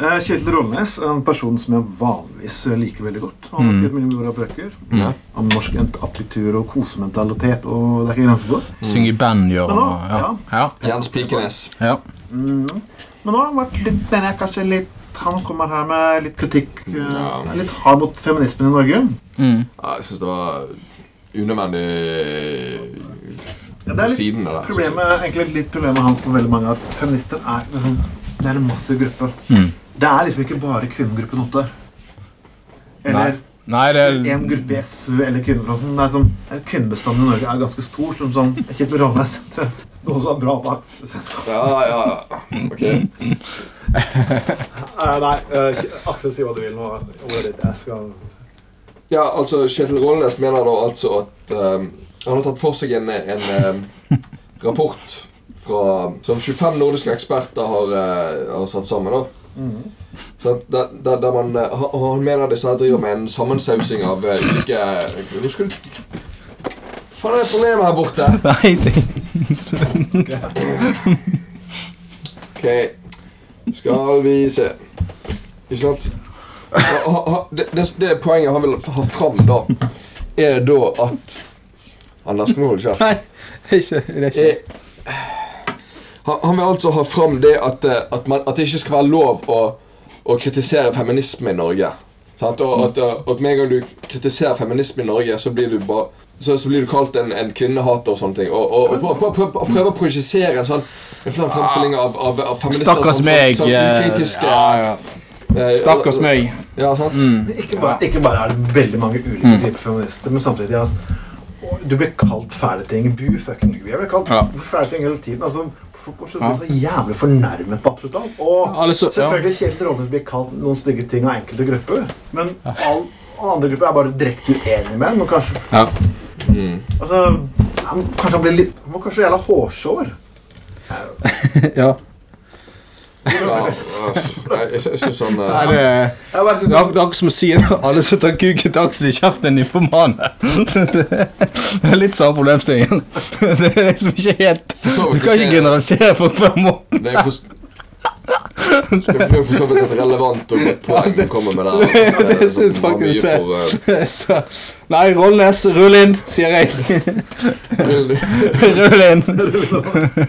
Eh, Kjetil Rollnes, en person som jeg vanligvis liker veldig godt. Han har skrevet mye bra bøker Mm. Ja. om norsk aptitur og kosementalitet. og det er ikke grenser for. Mm. Synge i band, gjør han. Hallo? og- Ja. Jens Pikenes. Ja. ja. Mm. Men nå har han vært litt, mener jeg kanskje litt Han kommer her med litt kritikk. eh, Ja. Litt hard mot feminismen i Norge. Mm. Ja, jeg syns det var unødvendig Ja, det på er litt siden av det. problemet, egentlig litt problemet hans for veldig mange at feminister er liksom, det er en massiv gruppe. Mm. Det er liksom ikke bare kvinnegruppen Ottar. Eller Nei, det er en gruppe i SU eller kvinner. og sånn. Det er sånn, Kvinnebestanden i Norge er ganske stor. Som sånn Kjetil Rollnes. Noen som er bra bak. Ja, ja, ja. Ok. Eh, nei, Aksel, si hva du vil nå. Ordet ditt. Jeg skal Ja, altså, Kjetil Rollnes mener da altså at ehm, han har tatt for seg en, en ehm, rapport fra, som 25 nordiske eksperter har, eh, har satt sammen. da. Mhm. Så at der, der, der man, eh, ha- han mener disse her driver med en sammensausing av eh, ulike Nå skal du Faen, er det problemet her borte? Nei, det Ok, skal vi se Ikke sant? Ha, ha, ha, det, det, det poenget han vil ha fram da Er da at Anders, skal du holde kjeft? Nei, det er ikke det. Er ikke. Eh, Han, han vil altså ha fram det at, eh, at, man, at det ikke skal være lov å, å kritisere feminisme i Norge. Sant? Og at, eh, at med en gang du kritiserer feminisme i Norge, så blir du bare så, så blir du kalt en, en kvinnehater og sånne ting. Og, og, og prø- prø- prø- prø- prøver å projisere en sånn, en sånn fremstilling av, av, av feminister Stakkars som- meg. som, som eh, ukritiske. Ja, ja. sånn- eh, Stakkars meg. Mm. Ja, sant? Ikke bare, ikke bare er det veldig mange ulike typer feminister, men samtidig altså, og Du blir kalt fæle ting. Bu fucking Vi blir kalt Ja. fæle ting hele tiden. altså Folk blir så- så jævlig fornærmet på absolutt alt. Og Alle så- ja. selvfølgelig Kjell Rånes blir kalt noen stygge ting av enkelte grupper. Men all, andre grupper er bare direkte uenige med ham. og Kanskje, Ja. altså, han, kanskje han blir litt Han var kanskje jævla hårsår. ja. Ja, altså, jeg jeg, jeg syns han Nei, eh, det er Jeg bare synes, det er ak- det er akkurat som å si at alle som tar kuken til Aksel i kjeften, er nymfomane. Det er litt samme problemstillingen. Det er liksom ikke helt så Du vidt kan ikke- ikke generalisere folk på den måten. Det er jo for- Det er jo for så vidt et relevant og godt poeng å komme med der. det- at det er synes sånn, man faktisk mye det. for, eh, Så, nei, Rollnes, rull inn, sier jeg. Vil du- Rull inn.